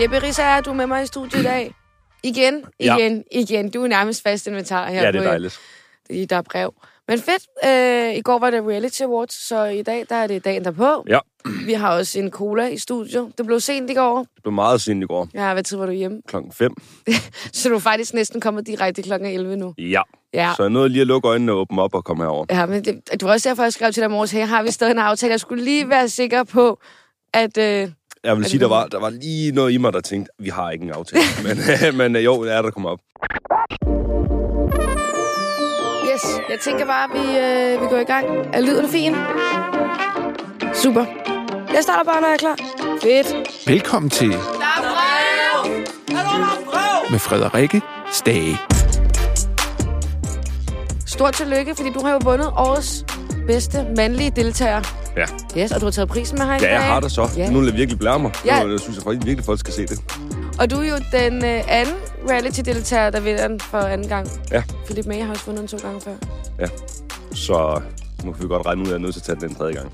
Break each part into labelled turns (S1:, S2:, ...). S1: Jeppe Rissager, du er med mig i studiet i dag. Igen,
S2: Ja.
S1: igen, igen. Du er nærmest fast inventar her
S2: Ja, det
S1: på,
S2: er dejligt.
S1: i Der er brev. Men fedt. Øh, I går var det Reality Awards, så i dag der er det dagen derpå.
S2: Ja,
S1: Vi har også en cola i studiet. Det blev sent i går.
S2: det blev meget sent i går.
S1: Ja, hvad tid var du hjemme?
S2: Klokken 5.
S1: Så du er faktisk næsten kommet direkte kl. 11 nu.
S2: Ja.
S1: Ja.
S2: Så jeg nåede lige at lukke øjnene og åbne op og komme herover.
S1: Ja, men det, det var også derfor, jeg skrev til dig i morges, her har vi stadig en aftale. Jeg skulle lige være sikker på, at... Øh,
S2: Jeg vil
S1: det
S2: sige, der
S1: noget?
S2: var, der var lige noget i mig, der tænkte, vi har ikke en aftale. men, men øh, jo, det er der kommer op.
S1: yes, jeg tænker bare, at vi, øh, vi går i gang. Er lyden fin? Super. Jeg starter bare, når jeg er klar. Fedt.
S3: Velkommen til med Frederikke Stage.
S1: Stort tillykke, fordi du har jo vundet årets bedste mandlige deltager.
S2: Ja.
S1: Yes, og du har taget prisen med her i
S2: Ja,
S1: dag.
S2: jeg har det så.
S1: Ja.
S2: Nu vil jeg virkelig blære mig.
S1: Ja.
S2: Nu, jeg synes jeg faktisk virkelig, folk skal se det.
S1: Og du er jo den øh, anden reality-deltager, der vinder den for anden gang.
S2: Ja.
S1: Philip May har også vundet den to gange før.
S2: Så øh, nu kan vi godt regne ud, at jeg er nødt til at tage den en tredje gang.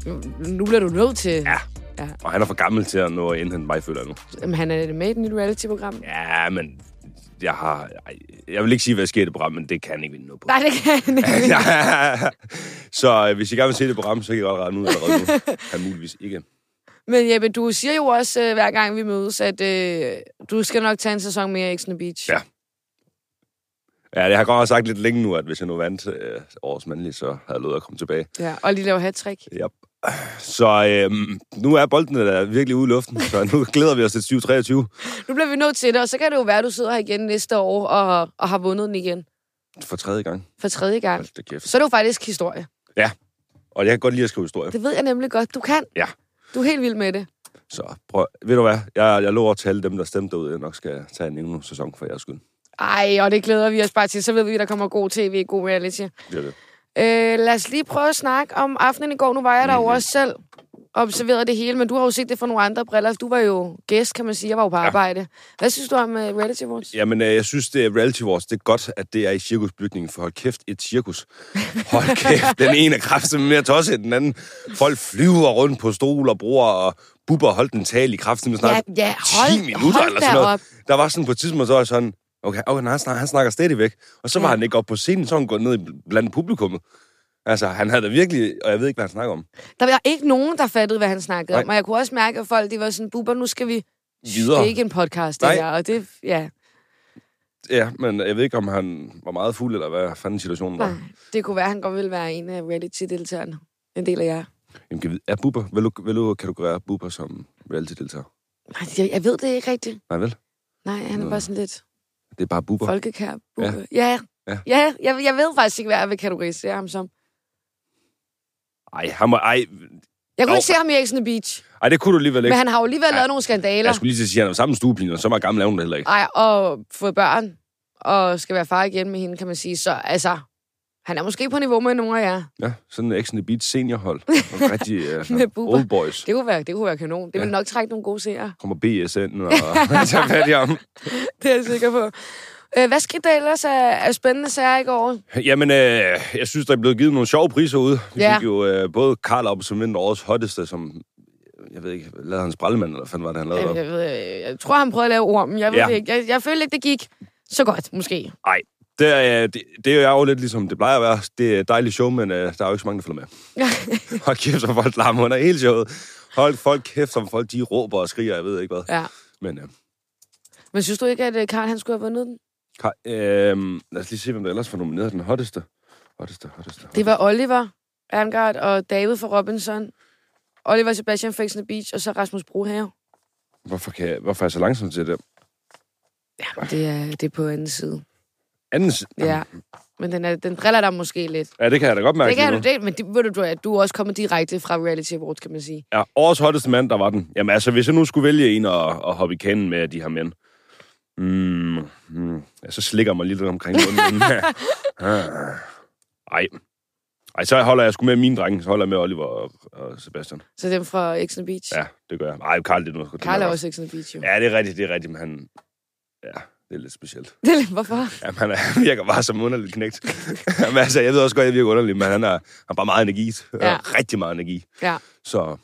S1: Nu bliver du nødt til...
S2: Ja.
S1: Ja.
S2: Og han er for gammel til at nå at indhente mig, føler jeg nu.
S1: Jamen, han er med i et nyt reality-program.
S2: Ja, men jeg har... ej, Jeg vil ikke sige, hvad der sker i det program, men det kan jeg ikke vinde noget på.
S1: Nej, det kan han ikke.
S2: så øh, hvis I gerne vil se det program, så kan I godt regne ud allerede nu. Kan muligvis ikke.
S1: Men Jeppe, du siger jo også, øh, hver gang vi mødes, at øh, du skal nok tage en sæson mere i Exxon Beach.
S2: Ja. Ja, det har jeg godt nok sagt lidt længe nu, at hvis jeg nu vandt øh, årets mandlige, så havde jeg lovet at komme tilbage.
S1: ja. Og lige lave hat-trick.
S2: Yep. Så øh, nu er bolden der virkelig ude i luften, så nu glæder vi os til 2023.
S1: Nu bliver vi nødt til det, og så kan det jo være, at du sidder her igen næste år og, og har vundet den igen
S2: For tredje gang.
S1: for tredje gang.
S2: Hold da kæft.
S1: Så er det jo faktisk historie.
S2: Og jeg kan godt lide at skrive historier.
S1: Det ved jeg nemlig godt. Du kan.
S2: Ja.
S1: Du er helt vild med det.
S2: Så prøv, ved du hvad? Jeg, jeg lover at tale dem, der stemte derude, jeg nok skal tage en endnu sæson for jeres skyld.
S1: Ej, og det glæder vi os bare til. Så ved vi, at der kommer god tv, god reality.
S2: Det er det.
S1: Øh, lad os lige prøve at snakke om aftenen i går. Nu var jeg der jo også selv og observerede det hele, men du har jo set det fra nogle andre briller. Du var jo gæst, kan man sige. Jeg var jo på arbejde. Hvad synes du om uh, reality awards?
S2: Jamen, øh, jeg synes, det er Reality Wars. Det er godt, at det er i cirkusbygningen, for hold kæft, et cirkus. Hold kæft, den ene er kraftigt mere tosset end den anden. Folk flyver rundt på stol og bruger og bubber holdt en tale i kraftigt med snart
S1: Ja, ja, hold-
S2: 10 minutter
S1: hold
S2: eller
S1: da
S2: sådan noget.
S1: op.
S2: Der var sådan på et tidspunkt, så var jeg sådan, okay, okay nej, han, snakker, han snakker stadigvæk. Og så var
S1: Ja.
S2: han ikke oppe på scenen, så var han gået ned i- blandt publikummet. Altså, han havde da virkelig, og jeg ved ikke, hvad han snakker om.
S1: Der var ikke nogen, der fattede, hvad han snakkede
S2: Nej.
S1: om. Og jeg kunne også mærke, at folk de var sådan, buber, nu skal vi... Shh,
S2: Videre.
S1: Det er ikke en podcast, det
S2: Nej.
S1: her. Og det, ja,
S2: Ja, men jeg ved ikke, om han var meget fuld, eller hvad fanden situationen var.
S1: nej. det kunne være, at han godt ville være en af reality-deltagerne. En del af jer.
S2: Jamen, kan vi- er Bubber, vil du, vil du kategorere Bubber som reality-deltager?
S1: Nej, jeg, jeg ved det ikke rigtigt.
S2: Nej, vel?
S1: Nej, han er bare sådan lidt
S2: Det er bare Bubber.
S1: folkekær. buber. Ja, ja. ja jeg, jeg ved faktisk ikke, hvad jeg vil kategorisere ham som.
S2: Ej, han må, ej,
S1: Jeg kunne
S2: Jo.
S1: ikke se ham i Exxon Beach,
S2: ej, det kunne du alligevel ikke.
S1: men han har jo alligevel
S2: Ja.
S1: lavet nogle skandaler.
S2: Jeg skulle lige til at sige, at han var sammen med stuepinen, og så meget gammel er hun da heller ikke.
S1: Ej, og fået børn, og skal være far igen med hende, kan man sige. Så altså, han er måske på niveau med nogle af jer.
S2: Ja, sådan en Action the Beat seniorhold. Og rigtig uh,
S1: Med Bubber.
S2: old boys.
S1: Det kunne være, det kunne være kanon. Det ville nok trække nogle gode seere.
S2: Kommer BSN og tager fat i ham.
S1: Det er jeg sikker på. Øh, hvad skete der ellers af, af spændende sager i går?
S2: Jamen, øh, jeg synes, der er blevet givet nogle sjove priser ud. Vi
S1: Ja.
S2: fik jo øh, både Karl op som vindt årets hotteste, som, jeg ved ikke, lavede han sprallemand, eller hvad fanden var det, han lavede?
S1: Jeg,
S2: deroppe?
S1: jeg, ved, øh, jeg tror, han prøvede at lave ormen. Jeg, ved
S2: Ja.
S1: det ikke. jeg, jeg følte ikke, det gik så godt, måske.
S2: Ej, det, er, øh, det, det er jo lidt ligesom det plejer at være. Det er et dejligt show, men øh, der er jo ikke så mange, der følger med. Hold kæft, som folk larmer under hele showet. Hold folk kæft, som folk de råber og skriger, jeg ved ikke hvad.
S1: ja.
S2: Men øh,
S1: Men synes du ikke, at øh, Karl han skulle have vundet den?
S2: Kaj, øh, lad os lige se, hvem der ellers var nomineret. Den hotteste. Hotteste, hotteste.
S1: Det var Oliver Erngard og David fra Robinson. Oliver Sebastian fra Exxon Beach, og så Rasmus Brohave.
S2: Hvorfor, kan jeg, hvorfor er jeg så langsom til det?
S1: Jamen, det er, det er på anden side.
S2: Anden si-
S1: Ja. Men den, er, den driller dig måske lidt.
S2: Ja, det kan jeg da godt mærke.
S1: Det kan
S2: lige
S1: du
S2: nu.
S1: det, men det, ved du, du, er- du er også kommet direkte fra Reality Awards, kan man sige.
S2: Ja, årets hotteste mand, der var den. Jamen altså, hvis jeg nu skulle vælge en og, og hoppe i kanen med de her mænd. Mm, mm, ja, så slikker jeg mig lige lidt omkring munden. Ah. Ej. Ej, så holder jeg sgu med mine drenge. Så holder jeg med Oliver og, og Sebastian.
S1: Så dem fra Exxon Beach.
S2: Ja, det gør jeg. Ej, Karl, det er nu.
S1: Karl er også Exxon Beach, jo. Ja.
S2: Ja, det er rigtigt, det er rigtigt, men han... Ja, det er lidt specielt.
S1: Det er lidt, hvorfor?
S2: Jamen, han er- han virker bare som en underlig knægt. Jamen, altså, jeg ved også godt, at jeg virker underlig, men han, er, han har bare Øh, meget energi. Ja.
S1: Ja.
S2: Rigtig meget energi.
S1: Ja.
S2: Så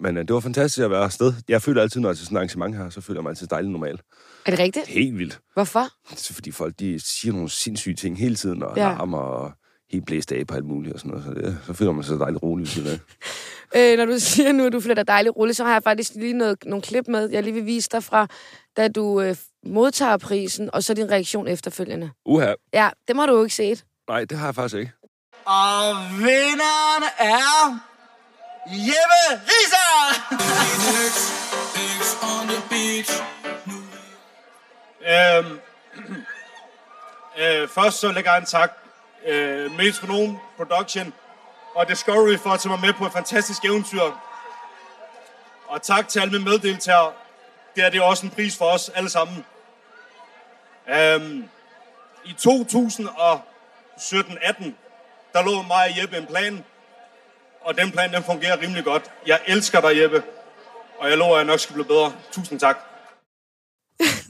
S2: Men øh, det var fantastisk at være afsted. Jeg føler altid, når jeg er til sådan et arrangement her, så føler jeg mig altid dejligt normal.
S1: Er det rigtigt?
S2: Helt vildt.
S1: Hvorfor?
S2: Det er, fordi folk de siger nogle sindssyge ting hele tiden, og
S1: Ja.
S2: ja. larmer og helt blæst af på alt muligt og sådan noget. Så, det, så føler man sig dejligt rolig. ved siden af.
S1: Øh, når du siger nu, at du flytter dejligt rulle, så har jeg faktisk lige noget, nogle klip med, jeg lige vil vise dig fra, da du øh, modtager prisen, og så din reaktion efterfølgende.
S2: Uha.
S1: Ja, det må du jo ikke set.
S2: Nej, det har jeg faktisk ikke.
S4: Og vinderen er Jeppe Riser!
S5: Øhm, øh, først så vil jeg gerne takke øh, Metronom Production og Discovery for at tage mig med på et fantastisk eventyr. Og tak til alle mine meddeltagere. Det er det er også en pris for os alle sammen. Øhm, I 2017-18, der lå mig og Jeppe en plan. Og den plan, den fungerer rimelig godt. Jeg elsker dig, Jeppe. Og jeg lover, at jeg nok skal blive bedre. Tusind tak.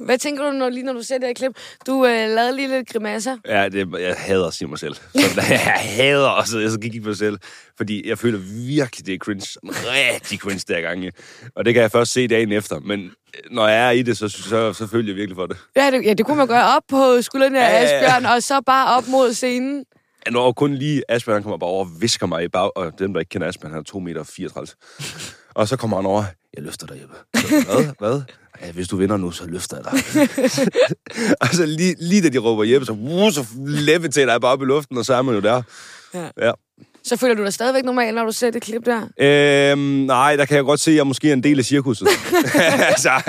S1: Hvad tænker du, når, lige når du ser det her klip? Du øh, lavede lige lidt grimasser.
S2: Ja, det, jeg hader at sige mig selv. Så, jeg hader også, jeg så gik ikke mig selv. Fordi jeg føler virkelig, det er cringe. Sådan Rigtig cringe der gange. Og det kan jeg først se dagen efter. Men øh, når jeg er i det, så, så, så føler jeg virkelig for det.
S1: Ja, det, ja, det kunne man gøre op på skuldrene af
S2: Ja, ja, ja.
S1: Asbjørn, og så bare op mod scenen.
S2: Ja, Når kun lige Asbjørn han kommer bare over og visker mig i bag, og dem, der ikke kender Asbjørn, han er 2 meter 34. Og så kommer han over, jeg løfter dig, Jeppe. Så, Hvad? Hvad? Ja, hvis du vinder nu, så løfter jeg dig. og så lige, lige da de råber Jeppe, så, uh, så levitater jeg bare op i luften, og så er man jo der.
S1: Ja.
S2: ja.
S1: Så føler du dig stadigvæk normal, når du ser det klip der.
S2: Øhm, nej, der kan jeg godt se, at jeg måske er en del af cirkuset. altså,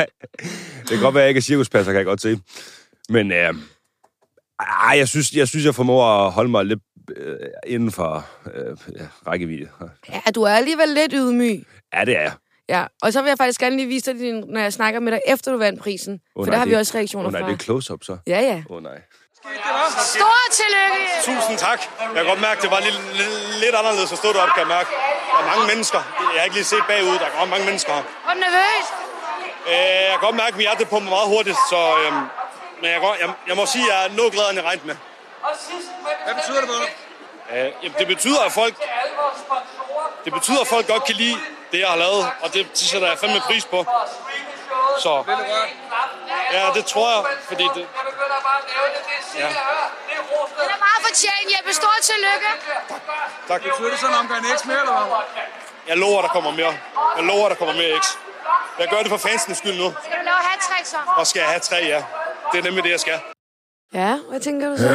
S2: det kan godt være, at jeg ikke er cirkuspasser, kan jeg godt se. Men øh, ej, jeg, synes, jeg synes, jeg formår at holde mig lidt øh, inden for øh, ja, rækkevidde.
S1: Ja, du er alligevel lidt ydmyg.
S2: Ja, det er jeg.
S1: Ja, og så vil jeg faktisk gerne lige vise dig, din, når jeg snakker med dig, efter du vandt prisen. for der
S2: nej,
S1: har vi
S2: det-
S1: også reaktioner
S2: Åh nej,
S1: fra.
S2: det er close-up så.
S1: Ja, ja.
S2: Åh oh, nej.
S1: Stort tillykke!
S5: Tusind tak. Jeg kan godt mærke, det var lidt, lidt, lidt anderledes at stå deroppe, kan jeg mærke. Der er mange mennesker. Jeg har ikke lige set bagud. Der er godt mange mennesker her.
S1: Var du nervøs?
S5: Øh, jeg kan godt mærke, at mit hjerte pumper meget hurtigt, så... Øhm, men jeg, kan godt, jeg, jeg, må sige, at jeg er noget gladere, end jeg regnede med.
S4: Hvad betyder det for dig?
S5: Øh, jamen, det betyder, at folk... Det betyder, at folk godt kan lide det, jeg har lavet, og det, det sætter jeg fandme pris på. Så... Ja, det tror jeg, fordi det...
S6: altså Jeg begynder bare at lave det, det er sikkert, jeg hører. Det er rostet.
S7: Det er meget fortjent, Jeppe. Stort tillykke.
S5: Tak.
S4: Betyder det sådan en omgang X mere, eller hvad?
S5: Jeg lover, der kommer mere. Jeg lover, der kommer mere X. Jeg gør det for fansens skyld nu.
S7: Skal du lave hat så?
S5: Og skal jeg have tre, ja. Det er nemlig det, jeg skal.
S1: Ja, hvad tænker du så?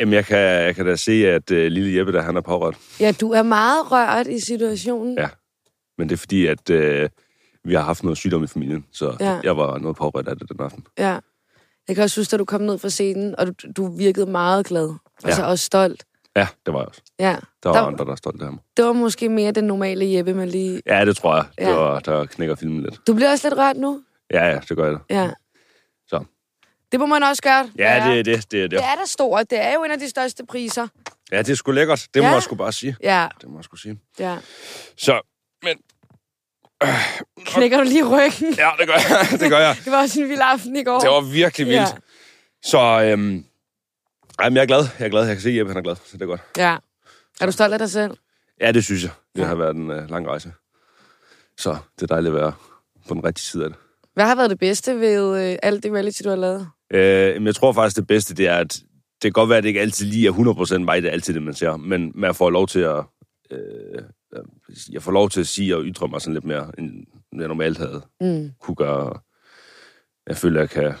S2: Jamen, jeg kan, jeg kan da se, at øh, lille Jeppe, der han er pårørt.
S1: Ja, du er meget rørt i situationen.
S2: Ja. Men det er fordi, at øh, vi har haft noget sygdom i familien, så
S1: Ja.
S2: ja. jeg var noget pårørt af det den aften.
S1: ja. Jeg kan også huske, at du kom ned fra scenen, og du, du virkede meget glad. Ja. Altså også stolt.
S2: Ja, det var jeg også.
S1: Ja.
S2: Der
S1: Der-
S2: var der... andre, der er stolte af mig.
S1: Det var måske mere den normale Jeppe, man lige...
S2: Ja, det tror jeg.
S1: Ja.
S2: Det var, der knækker filmen lidt.
S1: Du bliver også lidt rørt nu?
S2: Ja, ja, det gør jeg da.
S1: Ja.
S2: Så.
S1: Det må man også gøre.
S2: Ja, det er det. Det er det.
S1: Det er da stort. Det er jo en af de største priser.
S2: Ja, det er sgu lækkert. Det må
S1: Ja.
S2: jeg sgu bare sige.
S1: Ja,
S2: Det må jeg sgu sige.
S1: ja.
S2: Så, men...
S1: Knækker du lige ryggen?
S2: Ja, det gør jeg. Det gør jeg.
S1: Det var også en vild aften i går.
S2: Det var virkelig vildt.
S1: Ja.
S2: Ja. Så, øhm... Ej, men jeg er glad. Jeg er glad. Jeg kan se, at Jeppe han er glad. Så det er godt.
S1: Ja. Er du stolt af dig selv?
S2: Ja, det synes jeg. Det
S1: Ja.
S2: ja. har været en øh, lang rejse. Så det er dejligt at være på den rigtige side af det.
S1: Hvad har været det bedste ved øh, alt det reality, du har lavet?
S2: Øh, men jeg tror faktisk, det bedste, det er, at det kan godt være, at det ikke altid lige er 100% mig, det er altid det, man ser, men man får lov til at... Øh, jeg får lov til at sige og ytre mig sådan lidt mere, end jeg normalt havde
S1: Mm.
S2: kunne gøre. Jeg føler, jeg kan,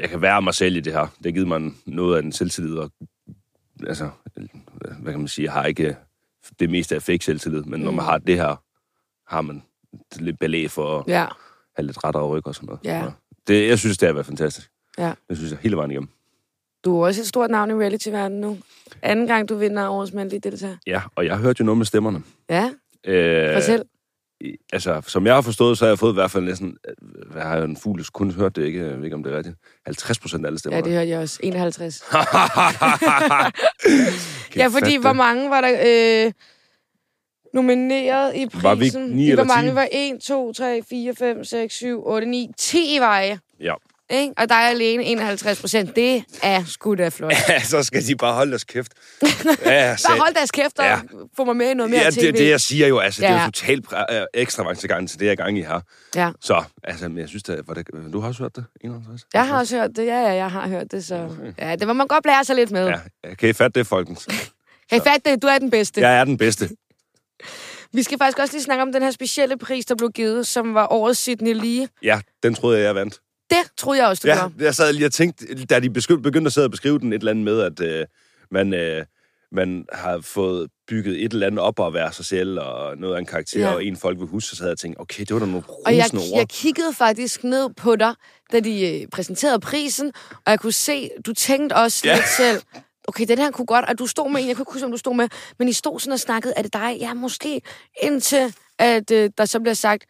S2: jeg kan være mig selv i det her. Det har givet mig noget af den selvtillid, og altså, hvad kan man sige, jeg har ikke det meste af fake selvtillid, men mm. når man har det her, har man lidt belæg for at
S1: Ja.
S2: have lidt rettere ryg og sådan noget.
S1: Ja.
S2: Så Det, jeg synes, det har været fantastisk.
S1: Ja.
S2: Det synes jeg hele vejen igennem.
S1: Du er også et stort navn i reality-verdenen nu. Anden gang, du vinder årets mandlige deltager.
S2: Ja, og jeg hørte jo noget med stemmerne.
S1: Ja,
S2: Øh,
S1: fortæl.
S2: i- altså, som jeg har forstået, så har jeg fået i hvert fald næsten, øh, hvad har jeg en fugl kun hørt det, ikke, jeg ved ikke om det er rigtigt, 50 procent af alle
S1: Ja,
S2: stemmerne.
S1: det hørte jeg også. 51.
S2: Kan
S1: Ja,
S2: jeg
S1: fordi
S2: fatte
S1: hvor
S2: det?
S1: mange var der øh, nomineret i prisen?
S2: Var vi ikke ni
S1: I
S2: eller
S1: hvor mange
S2: ti?
S1: var 1, 2, 3, 4, 5, 6, 7, 8, 9, 10 veje.
S2: Ja.
S1: Ikke? Og dig alene 51 procent. Det er sgu da flot.
S2: Ja, så skal de bare holde deres kæft. Ja,
S1: Bare hold deres kæft og
S2: Ja.
S1: få mig med i noget mere
S2: ja,
S1: tv.
S2: det er det, jeg siger jo. Altså, Det er
S1: Ja.
S2: jo totalt præ- øh, ekstra gang til det, jeg er gang i her.
S1: ja.
S2: Så, altså, men jeg synes, at, var det, du har også hørt det? 51?
S1: Jeg har også hørt det. Ja, ja, jeg har hørt det, så... Altså. Ja, det må man godt blære sig lidt med. Ja.
S2: Ja, kan I fatte det, folkens?
S1: Kan I fatte det? Du er den bedste. Ja.
S2: Jeg er den bedste.
S1: Vi skal faktisk også lige snakke om den her specielle pris, der blev givet, som var årets Sydney Lee.
S2: Ja, den troede jeg, jeg vandt.
S1: Det troede jeg også, du ja.
S2: Ja,
S1: gjorde.
S2: jeg sad lige og tænkte, da de besky- begyndte at sidde og beskrive den et eller andet med, at øh, man, øh, man har fået bygget et eller andet op og være sig selv, og noget af en karakter,
S1: Ja.
S2: ja. og en folk vil huske, så sad jeg og tænkte, okay, det var da nogle
S1: Og jeg,
S2: brusende
S1: jeg
S2: ord.
S1: kiggede faktisk ned på dig, da de øh, præsenterede prisen, og jeg kunne se, du tænkte også ja.
S2: Ja.
S1: lidt selv, okay, den her kunne godt, og du stod med en, jeg kunne ikke huske, om du stod med, men I stod sådan og snakkede, er det dig? Ja, måske, indtil at, øh, der så bliver sagt,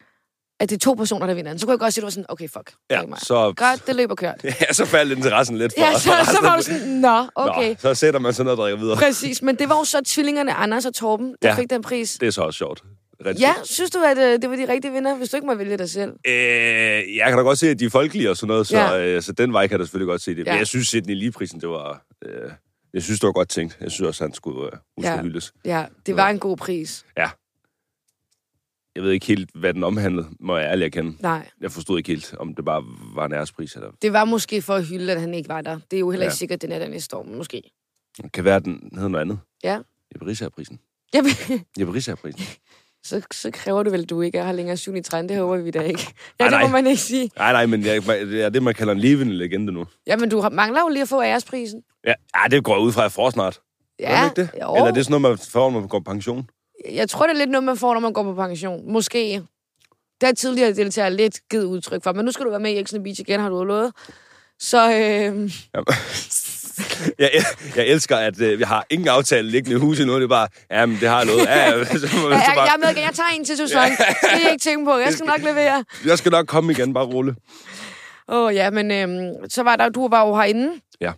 S1: at det er to personer, der vinder den. Så kunne jeg godt se, at du var sådan, okay, fuck. det er
S2: Ja,
S1: ikke mig.
S2: så-
S1: Godt, det løber kørt.
S2: Ja, så faldt interessen lidt for
S1: Ja, så, så
S2: resten
S1: var
S2: af-
S1: du sådan, nå, okay.
S2: Nå, så sætter man sig ned og drikker videre.
S1: Præcis, men det var jo så tvillingerne Anders og Torben, der ja.
S2: Ja.
S1: fik den pris.
S2: Det er så også sjovt. Rigtig
S1: Ja, synes du, at øh, det var de rigtige vinder, hvis du ikke må vælge dig selv?
S2: Øh, jeg kan da godt se, at de er folkelige og sådan noget, så,
S1: Ja.
S2: ja. øh, så den vej kan jeg da selvfølgelig godt se det. Ja.
S1: Ja.
S2: Men jeg synes, Sidney Lee-prisen, det var... Øh, jeg synes, det var godt tænkt. Jeg synes også, han skulle, øh, hun
S1: Ja.
S2: ja. skulle hyldes.
S1: Ja, det var en god pris.
S2: Ja. Jeg ved ikke helt, hvad den omhandlede, må jeg ærligt erkende.
S1: Nej,
S2: Jeg forstod ikke helt, om det bare var en ærespris, eller
S1: det var måske for at hylde, at han ikke var der. Det er jo heller ikke
S2: Ja.
S1: sikkert, den er der næste år, men måske.
S2: kan være, at den hed noget andet.
S1: Ja.
S2: Jeppe Risser-prisen.
S1: Jamen,
S2: Jeppe Risser-prisen.
S1: så, så kræver du vel, at du ikke er her længere 7 i 13. Det håber vi da ikke. Ja,
S2: Ej,
S1: det
S2: nej.
S1: må man ikke sige.
S2: Nej, nej, men jeg, det er det, man kalder en levende legende nu.
S1: Jamen, du har- mangler jo lige at få æresprisen.
S2: Ja, ja det går jeg ud fra, at jeg får snart. Gør
S1: Ja,
S2: man ikke det?
S1: Jo.
S2: Eller er det sådan noget, man får, når man går på pension?
S1: Jeg tror, det er lidt noget, man får, når man går på pension. Måske. Det har tidligere deltager lidt givet udtryk for, men nu skal du være med i Exxon Beach igen, har du lovet. Så øh,
S2: Jamen, jeg, jeg, jeg elsker, at øh, jeg har ingen aftale liggende i huset nu. Det er bare, ja, men det har jeg lovet. Ja, ja, så må man
S1: jeg,
S2: så
S1: jeg, jeg, er med, igen. jeg tager en til sæson. Det skal I ikke tænke på. Jeg skal nok levere.
S2: jeg skal nok komme igen, bare rulle.
S1: Åh oh, ja, men øh, så var der, du var jo herinde.
S2: Ja.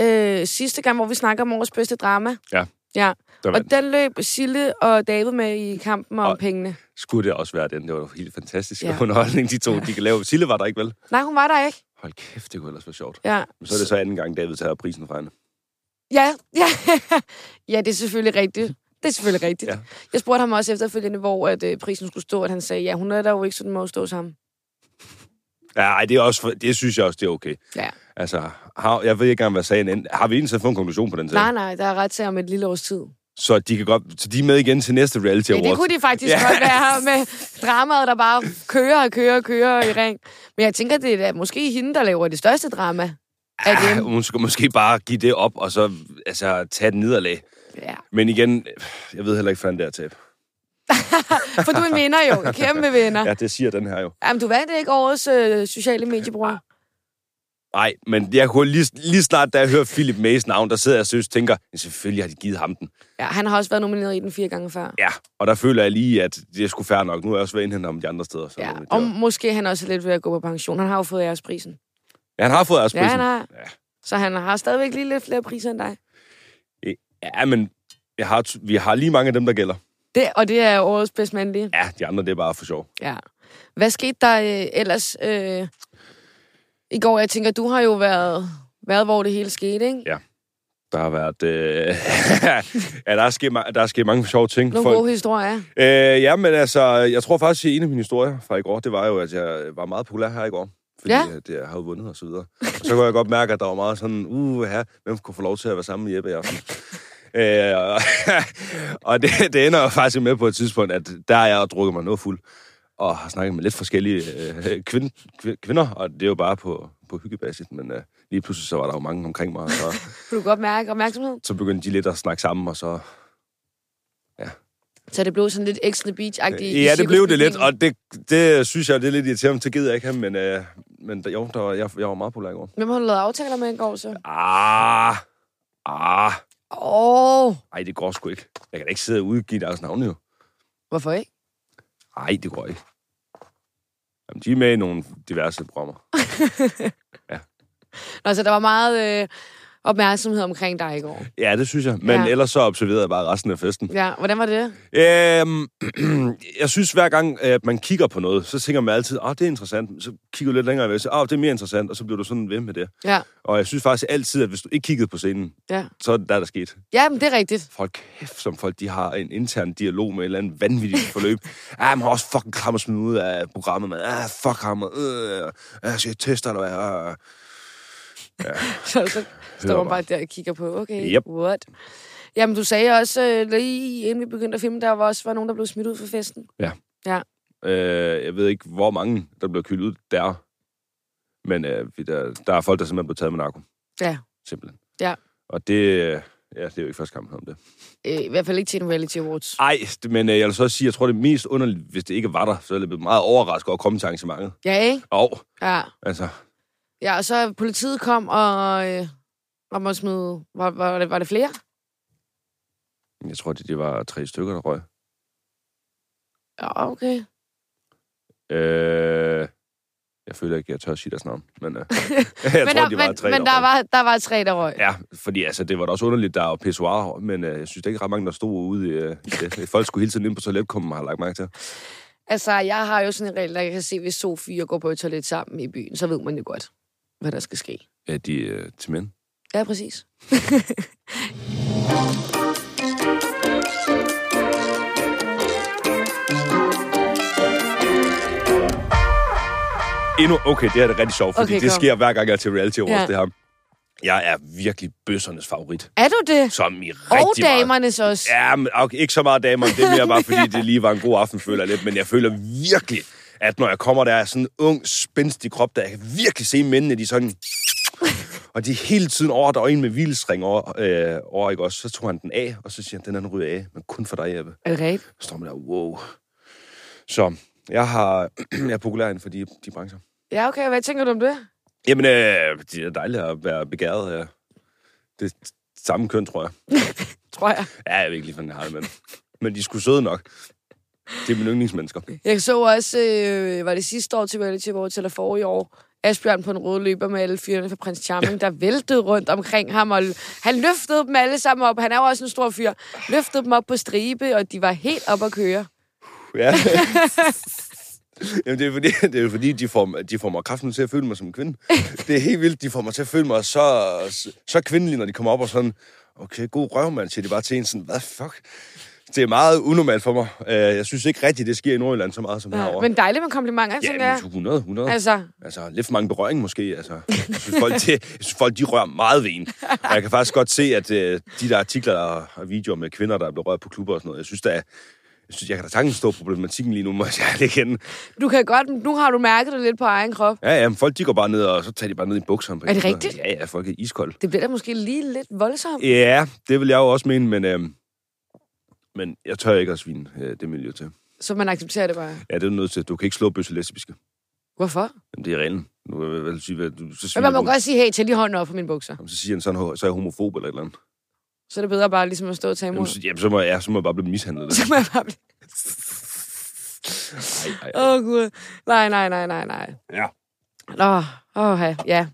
S1: Øh, sidste gang, hvor vi snakker om årets bedste drama.
S2: Ja,
S1: Ja.
S2: der
S1: Og
S2: vandt.
S1: den løb Sille og David med i kampen om
S2: Og-
S1: pengene.
S2: Skulle det også være den? Det var jo helt fantastisk
S1: Ja.
S2: ja. underholdning, de to de kan lave. Sille var der ikke, vel?
S1: Nej, hun var der ikke.
S2: Hold kæft, det kunne ellers være sjovt.
S1: Ja.
S2: Men så er det så anden gang, David tager prisen fra hende.
S1: Ja, ja. ja, det er selvfølgelig rigtigt. Det er selvfølgelig rigtigt. Ja.
S2: Ja.
S1: Jeg spurgte ham også efterfølgende, hvor at, øh, prisen skulle stå, at han sagde, ja, hun er der jo ikke, så den må jo stå hos ham.
S2: Ja, ej, det, er også, for- det synes jeg også, det er okay.
S1: Ja.
S2: Altså, har, jeg ved ikke engang, hvad sagen endte. Har vi egentlig fået en konklusion på den sag?
S1: Nej, nej, der er ret til om et lille års tid.
S2: Så de, kan godt, så de er med igen til næste reality
S1: Ja, det
S2: awards.
S1: kunne de faktisk ja. godt være med dramaet, der bare kører og kører og kører i ring. Men jeg tænker, det er da måske hende, der laver det største drama. Af
S2: Ah,
S1: dem.
S2: hun skulle måske bare give det op, og så altså, tage den nederlag.
S1: Ja.
S2: Men igen, jeg ved heller ikke, hvordan det er at tabe.
S1: For du er en vinder jo. En kæmpe vinder.
S2: Ja, det siger den her jo.
S1: Jamen, du vandt ikke årets øh, sociale mediebror.
S2: Nej, men jeg kunne lige, lige snart, da jeg hører Philip Mays navn, der sidder jeg og seriøst tænker, ja, selvfølgelig har de givet ham den.
S1: Ja, han har også været nomineret i den fire gange før.
S2: Ja, og der føler jeg lige, at det er sgu fair nok. Nu er jeg også ved at indhente ham de andre steder. Så
S1: Ja,
S2: det er-
S1: og måske er han også lidt ved at gå på pension. Han har jo fået æresprisen.
S2: ja, han har fået Asprisen.
S1: Ja, han har.
S2: Ja.
S1: Så han har stadigvæk lige lidt flere priser end dig.
S2: Ja, men jeg har, t- vi har lige mange af dem, der gælder.
S1: Det, og det er årets bedst mandlige.
S2: Ja, de andre, det er bare for sjov.
S1: Ja. Hvad skete der øh, ellers øh, i går? Jeg tænker, du har jo været, været hvor det hele skete, ikke?
S2: Der har været... Øh... ja, der er, sket, ma- der er sket mange sjove ting.
S1: Nogle
S2: Folk-
S1: gode historier.
S2: Øh, ja, men altså, jeg tror faktisk, at en af mine historier fra i går, det var jo, at jeg var meget populær her i går. Fordi
S1: Ja.
S2: ja. det, jeg har jo vundet og så videre. Og så kunne jeg godt mærke, at der var meget sådan, uh, her, hvem kunne få lov til at være sammen med Jeppe i aften? øh, og- og det, det ender jo faktisk med på et tidspunkt, at der er jeg og drukket mig noget fuld, og har snakket med lidt forskellige øh, kvind, kvi- kvinder, og det er jo bare på, på hyggebasis, men øh, lige pludselig så var der jo mange omkring mig, og så,
S1: Kunne du godt mærke opmærksomhed?
S2: så begyndte de lidt at snakke sammen, og så
S1: Så det blev sådan lidt ekstra beach-agtigt. i
S2: Øh, Ja, det blev det lidt,
S1: cirkusbygningen.
S2: og det, det synes jeg, det er lidt irriterende. Det gider jeg ikke have, men, øh, men der, jo, der var, jeg, jeg var meget populær i går.
S1: Hvem har du lavet aftaler med i går så?
S2: Ah, ah,
S1: Åh, oh,
S2: ej, det går sgu ikke. Jeg kan da ikke sidde og udgive deres navne, jo.
S1: hvorfor ikke?
S2: Ej, det går ikke. Jamen, de er med i nogle diverse programmer.
S1: Nå, så der var meget øh, opmærksomhed omkring dig i går.
S2: Ja, det synes jeg. Men
S1: Ja.
S2: ja. ellers så observerede jeg bare resten af festen.
S1: Ja, hvordan var det?
S2: Øhm, jeg synes, hver gang, øh, at man kigger på noget, så tænker man altid, at det er interessant. Så kigger du lidt længere væk, så "Åh, det er mere interessant, og så bliver du sådan ved med det.
S1: Ja,
S2: Og jeg synes faktisk altid, at hvis du ikke kiggede på scenen,
S1: ja.
S2: så er det der, der skete.
S1: Ja, men det er rigtigt.
S2: Folk kæft, som folk, de har en intern dialog med et eller andet vanvittigt forløb. ah, man har også fucking kram og smide ud af programmet, man. Ah, fuck ham. og, Øh, jeg skal jeg teste, eller hvad? Ah.
S1: Så, så står
S2: Hører
S1: man bare
S2: bare.
S1: der og kigger på, okay,
S2: Yep.
S1: what? Jamen, du sagde også, øh, lige inden vi begyndte at filme, der var også var nogen, der blev smidt ud fra festen.
S2: Ja.
S1: Ja.
S2: Øh, jeg ved ikke, hvor mange, der blev kølet ud der. Men øh, vi- der, der er folk, der simpelthen blev taget med narko.
S1: Ja.
S2: Simpelthen.
S1: Ja.
S2: Og det, øh, ja, det er jo ikke første kamp om det.
S1: Øh, I hvert fald ikke til en reality awards.
S2: Ej, det- men øh, jeg vil så også sige, jeg tror, det mest underligt, hvis det ikke var der, så er jeg blevet meget overrasket over at komme til arrangementet.
S1: Ja, ikke?
S2: Og,
S1: Ja.
S2: altså,
S1: Ja, og så politiet kom og... Øh, var, man smide, var, var, det, var det flere?
S2: jeg tror, det, det var tre stykker, der røg.
S1: Ja, okay.
S2: Øh, jeg føler ikke, jeg tør at sige deres navn, men øh, jeg
S1: men
S2: tror,
S1: der,
S2: de var
S1: men,
S2: tre,
S1: men der,
S2: røg.
S1: var, der var tre, der røg.
S2: Ja, fordi altså, det var da også underligt, der er jo pissoir, men øh, jeg synes, der er ikke ret mange, der stod ude i, øh, i det. Folk skulle hele tiden ind på toiletkummen, har jeg lagt mærke til.
S1: Altså, jeg har jo sådan en regel, der jeg kan se, hvis Sofie og går på et toilet sammen i byen, så ved man jo godt, hvad der skal ske.
S2: Ja, de øh, til mænd.
S1: Ja, præcis.
S2: Endnu, okay, det her er det rigtig sjovt, fordi
S1: Okay,
S2: okay, det
S1: kom.
S2: sker hver gang, jeg er til reality awards,
S1: Ja.
S2: ja. det her. Jeg er virkelig bøssernes favorit,
S1: Er du det?
S2: som i
S1: Og
S2: rigtig meget.
S1: damernes også.
S2: Ja, men, okay, ikke så meget damer, det er mere bare, fordi det lige var en god aften, føler jeg lidt. Men jeg føler virkelig, at når jeg kommer, der er sådan en ung, spændstig krop, der jeg kan virkelig se mændene, de er sådan... Og de er hele tiden over, der var en med hvilestring over, øh, over, ikke også? Så tog han den af, og så siger han, den anden ryger af, men kun for dig, Jeppe.
S1: Er det rigtigt?
S2: Så står man der, wow. Så jeg, har, jeg er populær inden for de, de brancher.
S1: Ja, okay. Hvad tænker du om det?
S2: Jamen, øh, det er dejligt at være begæret af det samme køn, tror jeg.
S1: Tror jeg.
S2: Ja, jeg ved ikke lige, hvordan jeg har det med dem. Men de skulle søde nok. Det er mine yndlingsmennesker.
S1: Jeg så også, øh, var det sidste år til reality awards, eller forrige år, Asbjørn på en rød løber med alle fyrene fra Prins Charming, der væltede rundt omkring ham, og han løftede dem alle sammen op. Han er jo også en stor fyr. Løftede dem op på stribe, og de var helt op at køre.
S2: Ja. Jamen, det er fordi, det er jo fordi de, får, de får mig kraften til at føle mig som en kvinde. Det er helt vildt, de får mig til at føle mig så, så kvindelig, når de kommer op og sådan, okay, god røv, mand, siger de bare til en sådan, hvad fuck? Det er meget unormalt for mig. Øh, Jeg synes ikke rigtigt, det sker i Nordjylland så meget som herovre.
S1: Men dejligt med komplimenter,
S2: Ja,
S1: tænker
S2: men
S1: jeg.
S2: 100, 100.
S1: Altså,
S2: Altså, lidt for mange berøring måske. Altså, jeg synes, folk, de, jeg synes, folk de rører meget ved en. Og jeg kan faktisk godt se, at øh, de der artikler og- og videoer med kvinder, der er blevet rørt på klubber og sådan noget, jeg synes, der er, jeg, synes, jeg kan da sagtens stå problematikken lige nu, må jeg ærligt kende.
S1: du kan godt, nu har du mærket det lidt på egen krop.
S2: Ja, ja, men folk de går bare ned, og så tager de bare ned i bukserne. På
S1: Er det
S2: en.
S1: rigtigt?
S2: Ja, ja, folk er iskolde.
S1: Det bliver da måske lige lidt voldsomt.
S2: Ja, det vil jeg jo også mene, men, øh, men jeg tør ikke at svine øh, det miljø til.
S1: Så man accepterer det bare.
S2: Ja, det er du nødt til. Du kan ikke slå bøsse lesbiske.
S1: Hvorfor?
S2: Jamen, det er reglen. Nu vil jeg vel sige, hvad du så
S1: Men
S2: sviner
S1: man må
S2: du.
S1: godt sige, hey, tag lige hånden op på mine bukser.
S2: Jamen, så siger han sådan, så er jeg homofob eller et eller andet.
S1: Så er det bedre bare ligesom at stå og tage
S2: Jamen,
S1: imod.
S2: så, jamen, så, må, ja, så må jeg bare blive mishandlet.
S1: Så må jeg bare blive...
S2: Ej, ej, ej.
S1: Åh, oh, gud. Nej, nej, nej, nej, nej.
S2: Ja.
S1: Nå, åh, ja, ja.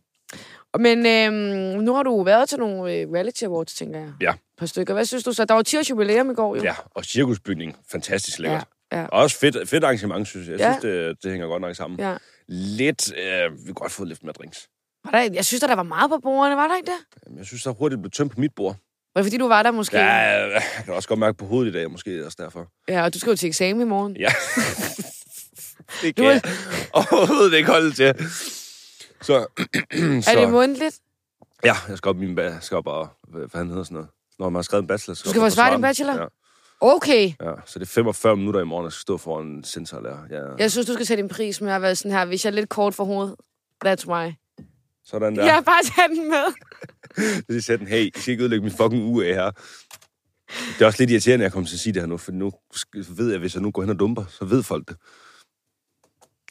S1: Men øhm, nu har du været til nogle øh, reality awards, tænker jeg.
S2: Ja.
S1: Et par stykker. Hvad synes du så? Der var 10 års jubilæum i går, jo.
S2: Ja, og cirkusbygning. Fantastisk
S1: ja.
S2: lækkert.
S1: ja.
S2: Og også fedt, fedt arrangement, synes jeg. Jeg
S1: Ja.
S2: synes, det, det hænger godt nok sammen.
S1: Ja.
S2: Lidt, øh, vi kunne godt få lidt mere drinks.
S1: Var der, jeg synes, der, der var meget på bordene, var der ikke det?
S2: Jamen, jeg synes, der hurtigt blev tømt på mit bord.
S1: Var det, fordi du var der måske?
S2: Ja, jeg kan også godt mærke på hovedet i dag, måske er det også derfor.
S1: ja og du skal jo til eksamen i morgen.
S2: Ja. det
S1: Du
S2: kan
S1: er-
S2: jeg overhovedet ikke holde til. Så, så
S1: Er det mundtligt?
S2: ja, jeg skal op min ba- jeg skal op og, hvad hvad han hedder sådan noget. Når man har skrevet en bachelor, så
S1: Du skal forsvare din bachelor?
S2: Ja.
S1: Okay.
S2: Ja, så det er 45 minutter i morgen, jeg skal stå foran en sensorlærer. Ja,
S1: Jeg synes, du skal tage din pris med at være sådan her. Hvis jeg er lidt kort for hovedet, that's why.
S2: Sådan
S1: Ja.
S2: der.
S1: Jeg bare tage den med.
S2: Så de sagde den, hey, I skal ikke ødelægge min fucking uge af her. Det er også lidt irriterende, at jeg kommer til at sige det her nu, for nu sk- ved jeg, at hvis jeg nu går hen og dumper, så ved folk det.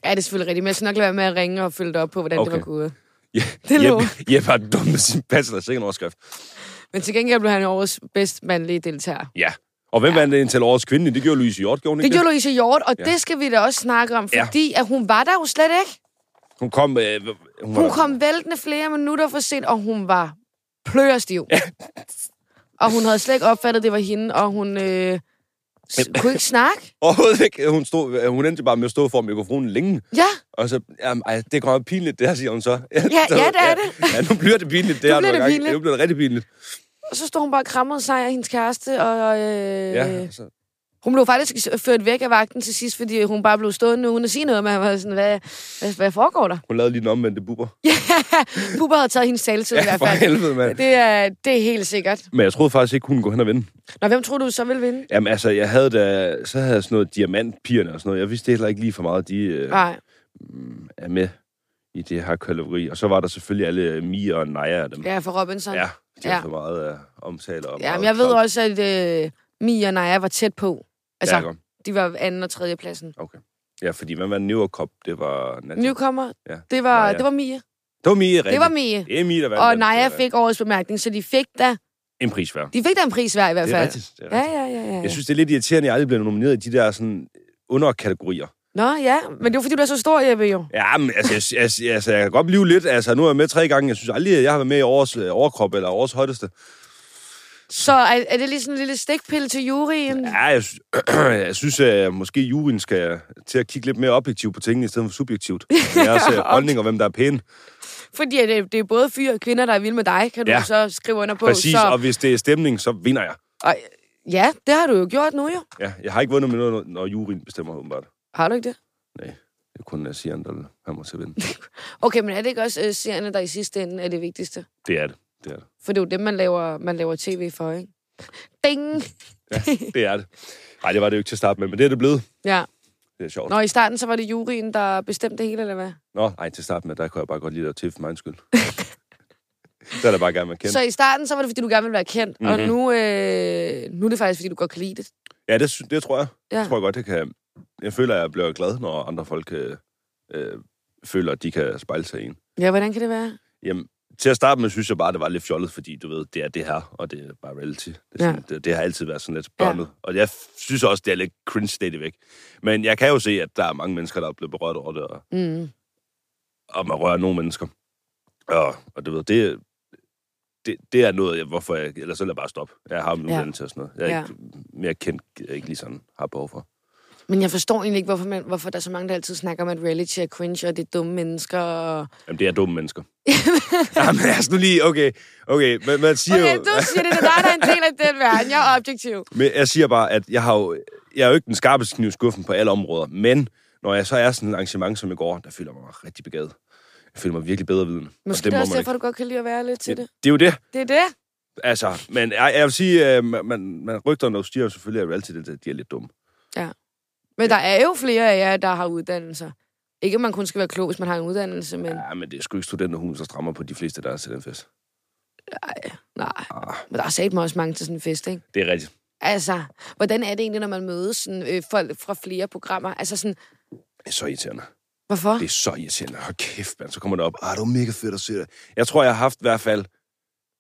S1: Ja, det er selvfølgelig rigtigt, men jeg skal nok lade være med at ringe og følge dig op på, hvordan okay. det
S2: Okay.
S1: var gået.
S2: Ja,
S1: Det lover.
S2: Jeppe, Jeppe har dumpet sin bachelor, sikkert en overskrift.
S1: Men til gengæld blev han årets bedst mandlige deltager.
S2: Ja. Og hvem vandt den til årets kvinde? Det gjorde Louise Hjort, gjorde hun
S1: Det
S2: ikke
S1: gjorde Louise Hjort, og ja.
S2: Ja.
S1: det skal vi da også snakke om,
S2: Ja.
S1: fordi at hun var der jo slet ikke.
S2: Hun kom... Øh, hun, var
S1: Hun
S2: der-
S1: kom væltende flere minutter for sent, og hun var plørestiv. og hun havde slet ikke opfattet, at det var hende, og hun øh, s- kunne ikke snakke.
S2: Overhovedet ikke. Hun, stod, øh, hun endte bare med at stå for mikrofonen længe.
S1: Ja,
S2: Og så, jamen, ej, det kommer pinligt, det her, siger hun så. Ja,
S1: ja, det er det.
S2: Ja, nu bliver det pinligt,
S1: Nu
S2: det
S1: bliver
S2: her, du er i
S1: det
S2: gang.
S1: pinligt.
S2: Nu bliver det rigtig pinligt.
S1: og så stod hun bare og krammede sig af hendes kæreste, og øh,
S2: Ja,
S1: ja.
S2: så,
S1: hun blev faktisk ført væk af vagten til sidst, fordi hun bare blev stående uden at sige noget, men han var sådan, hvad, hvad, hvad foregår der?
S2: hun lavede lige den omvendte buber.
S1: Bubber havde taget hendes taletid ja, i hvert
S2: for
S1: fald.
S2: helvede, mand.
S1: Det er, det er helt sikkert.
S2: Men jeg troede faktisk ikke, hun kunne gå hen og vinde.
S1: Nå, hvem tror du så vil vinde?
S2: Jamen altså, jeg havde da, så havde jeg sådan noget diamantpigerne og sådan noget. Jeg vidste heller ikke lige for meget, de øh,
S1: Nej.
S2: er med i det her kategori. Og så var der selvfølgelig alle Mia og Naja af dem.
S1: Ja, for Robinson.
S2: ja de har
S1: Ja.
S2: for meget øh, omtale. Og
S1: Jamen,
S2: meget
S1: jeg ved
S2: klam.
S1: også, at øh, Mia og Naja var tæt på. Altså,
S2: Ja, godt.
S1: de var anden og tredje pladsen.
S2: ja, fordi hvad var New York Cup? Det var Naja.
S1: Newcomer,
S2: Ja.
S1: det var,
S2: Naja.
S1: det var Mia.
S2: Det var Mia, rigtigt.
S1: Det var Mia.
S2: Det er Mia, der vandt.
S1: Og
S2: den.
S1: Naja
S2: Det er
S1: fik årets bemærkning, så de fik da,
S2: En pris hver.
S1: de fik da en pris hver i hvert
S2: Det er
S1: fald.
S2: rigtigt. Det er
S1: Ja,
S2: rigtigt.
S1: ja, ja, ja.
S2: Jeg synes, det er lidt irriterende, at jeg aldrig bliver nomineret i de der sådan øh, underkategorier.
S1: Nå, ja, men det var fordi, du er så stor, Jeppe, jo.
S2: Ja, men altså, jeg, jeg, altså, jeg kan godt blive lidt. Altså, nu er jeg med tre gange. Jeg synes aldrig, at jeg har været med i årets øh, overkrop eller årets højdeste.
S1: Så er, er det lige sådan en lille stikpille til juryen?
S2: Ja, jeg, sy- jeg synes, at måske juryen skal til at kigge lidt mere objektivt på tingene, i stedet for subjektivt. Deres øh, holdning og hvem der er pæne.
S1: Fordi at øh, det, det er både fyre og kvinder, der er vilde med dig, kan du
S2: Ja.
S1: ja. så skrive under på.
S2: Præcis,
S1: så,
S2: og hvis det er stemning, så vinder jeg.
S1: og, ja, det har du jo gjort nu, jo.
S2: Ja, jeg har ikke vundet med noget, når juryen bestemmer, åbenbart.
S1: Har du ikke det?
S2: Nej, det er kun Sian, der kommer til at vinde.
S1: Okay, men er det ikke også øh, serierne, der i sidste ende er det vigtigste?
S2: Det er det. Det er det.
S1: For det er jo dem, man laver, man laver tv for, ikke? Ding!
S2: Det er det. Nej, det var det jo ikke til at starte med, men det er det blevet.
S1: Ja.
S2: Det er sjovt.
S1: Nå, i starten så var det juryen, der bestemte det hele, eller hvad?
S2: Nå, nej, til starten med, der kunne jeg bare godt lide at til for min skyld. der er der bare gerne med kendt.
S1: Så i starten, så var det, fordi du gerne ville være kendt, mm-hmm. og nu, øh, nu er det faktisk, fordi du godt kan lide det.
S2: Ja, det, sy- det tror jeg. Ja.
S1: Ja.
S2: Det tror jeg godt, det kan... Jeg føler, at jeg bliver glad, når andre folk øh, øh, føler, at de kan spejle sig i en.
S1: Ja, hvordan kan det være?
S2: Jamen, til at starte med, synes jeg bare, det var lidt fjollet, fordi du ved, det er det her, og det er bare reality. Det, er
S1: Ja.
S2: sådan, det, det har altid været sådan lidt
S1: Ja.
S2: børnet. Ja. Og jeg f- synes også, det er lidt cringe stadigvæk. Men jeg kan jo se, at der er mange mennesker, der er blevet berørt over det, og,
S1: Mm.
S2: og man rører nogle mennesker. Og, og du ved, det, det, det er noget, jeg, hvorfor jeg... Ellers så vil jeg bare stoppe. Jeg har min
S1: Ja.
S2: uddannelse og sådan noget. Jeg er
S1: Ja.
S2: ikke mere kendt, jeg ikke lige sådan har behov for.
S1: Men jeg forstår egentlig ikke, hvorfor, man, hvorfor der er så mange, der altid snakker om, at reality er cringe, og det er dumme mennesker. Og...
S2: Jamen, det er dumme mennesker. Jamen, altså nu lige, okay, okay, men man siger
S1: Okay,
S2: jo,
S1: du siger det, det er dig, der er en del af den verden. Jeg er objektiv.
S2: men jeg siger bare, at jeg har jo, jeg er jo ikke den skarpeste kniv i skuffen på alle områder, men når jeg så er sådan et arrangement som i går, der føler jeg mig rigtig begavet. Jeg føler mig virkelig bedre viden.
S1: Måske det er også derfor, du godt kan lide at være lidt til det.
S2: det, det er jo det.
S1: Det er det.
S2: Altså, men jeg, jeg vil sige, øh, man, man, man rygter og stiger selvfølgelig, at reality, det, de er lidt dumme.
S1: Men der er jo flere af jer, der har uddannelser. Ikke, at man kun skal være klog, hvis man har en uddannelse, men...
S2: Ja, men det er sgu ikke studenterhus, der strammer på de fleste, der er til den fest.
S1: Nej,
S2: Ah.
S1: men der er sat mig også mange til sådan en fest, ikke?
S2: Det er rigtigt.
S1: Altså, hvordan er det egentlig, når man mødes sådan, øh, folk fra flere programmer? Altså sådan,
S2: Det er så irriterende.
S1: hvorfor?
S2: Det er så irriterende. Hold kæft, mand. Så kommer det op. Ah, det var mega fedt at se det. Jeg tror, jeg har haft i hvert fald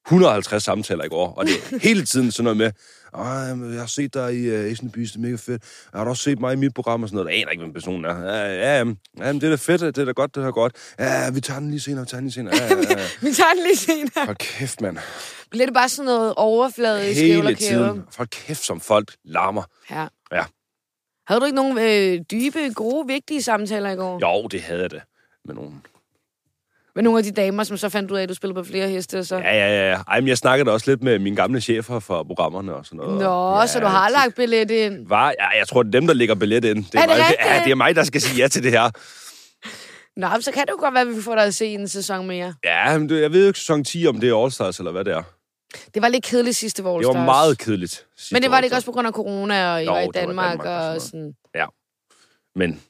S2: 150 samtaler i går, og det er hele tiden sådan noget med, "Ah, jamen, jeg har set dig i uh, Asian Beast, det er mega fedt. Har du også set mig i mit program og sådan noget? Jeg aner ikke, hvem personen er. Ja, ja, jamen, ja, jamen, det er da fedt, det er da godt, det er da godt. Ja, vi tager den lige senere, vi tager den lige senere. Ja, ja, ja.
S1: Vi tager den lige senere.
S2: Hold kæft, mand.
S1: Bliver det bare sådan noget overfladisk ævl og
S2: Hele
S1: kæve?
S2: tiden. Hold kæft, som folk larmer.
S1: Ja.
S2: Ja.
S1: Havde du ikke nogen øh, dybe, gode, vigtige samtaler i går?
S2: Jo, det havde jeg da med nogen.
S1: Med nogle af de damer, som så fandt ud af, at du spillede på flere heste og så...
S2: Ja, ja, ja, ja. Ej, men jeg snakkede da også lidt med mine gamle chefer for programmerne og sådan noget.
S1: Nå,
S2: ja,
S1: så du har lagt billet ind.
S2: Var, ja, jeg tror, det er dem, der lægger billet ind. Det er,
S1: Er det
S2: mig,
S1: rigtigt?
S2: ja, det er mig, der skal sige ja til det her.
S1: Nå, men så kan det jo godt være, at vi får dig at se en sæson mere.
S2: Ja, men det, jeg ved jo ikke sæson 10, om det er All Stars eller hvad det er.
S1: Det var lidt kedeligt sidste år.
S2: Det var meget kedeligt. sidste
S1: Men det var det ikke
S2: All
S1: også på grund af corona, og I
S2: Jo,
S1: jo, var i
S2: det var i
S1: Danmark,
S2: Danmark og
S1: og
S2: sådan
S1: sådan.
S2: Stars. Men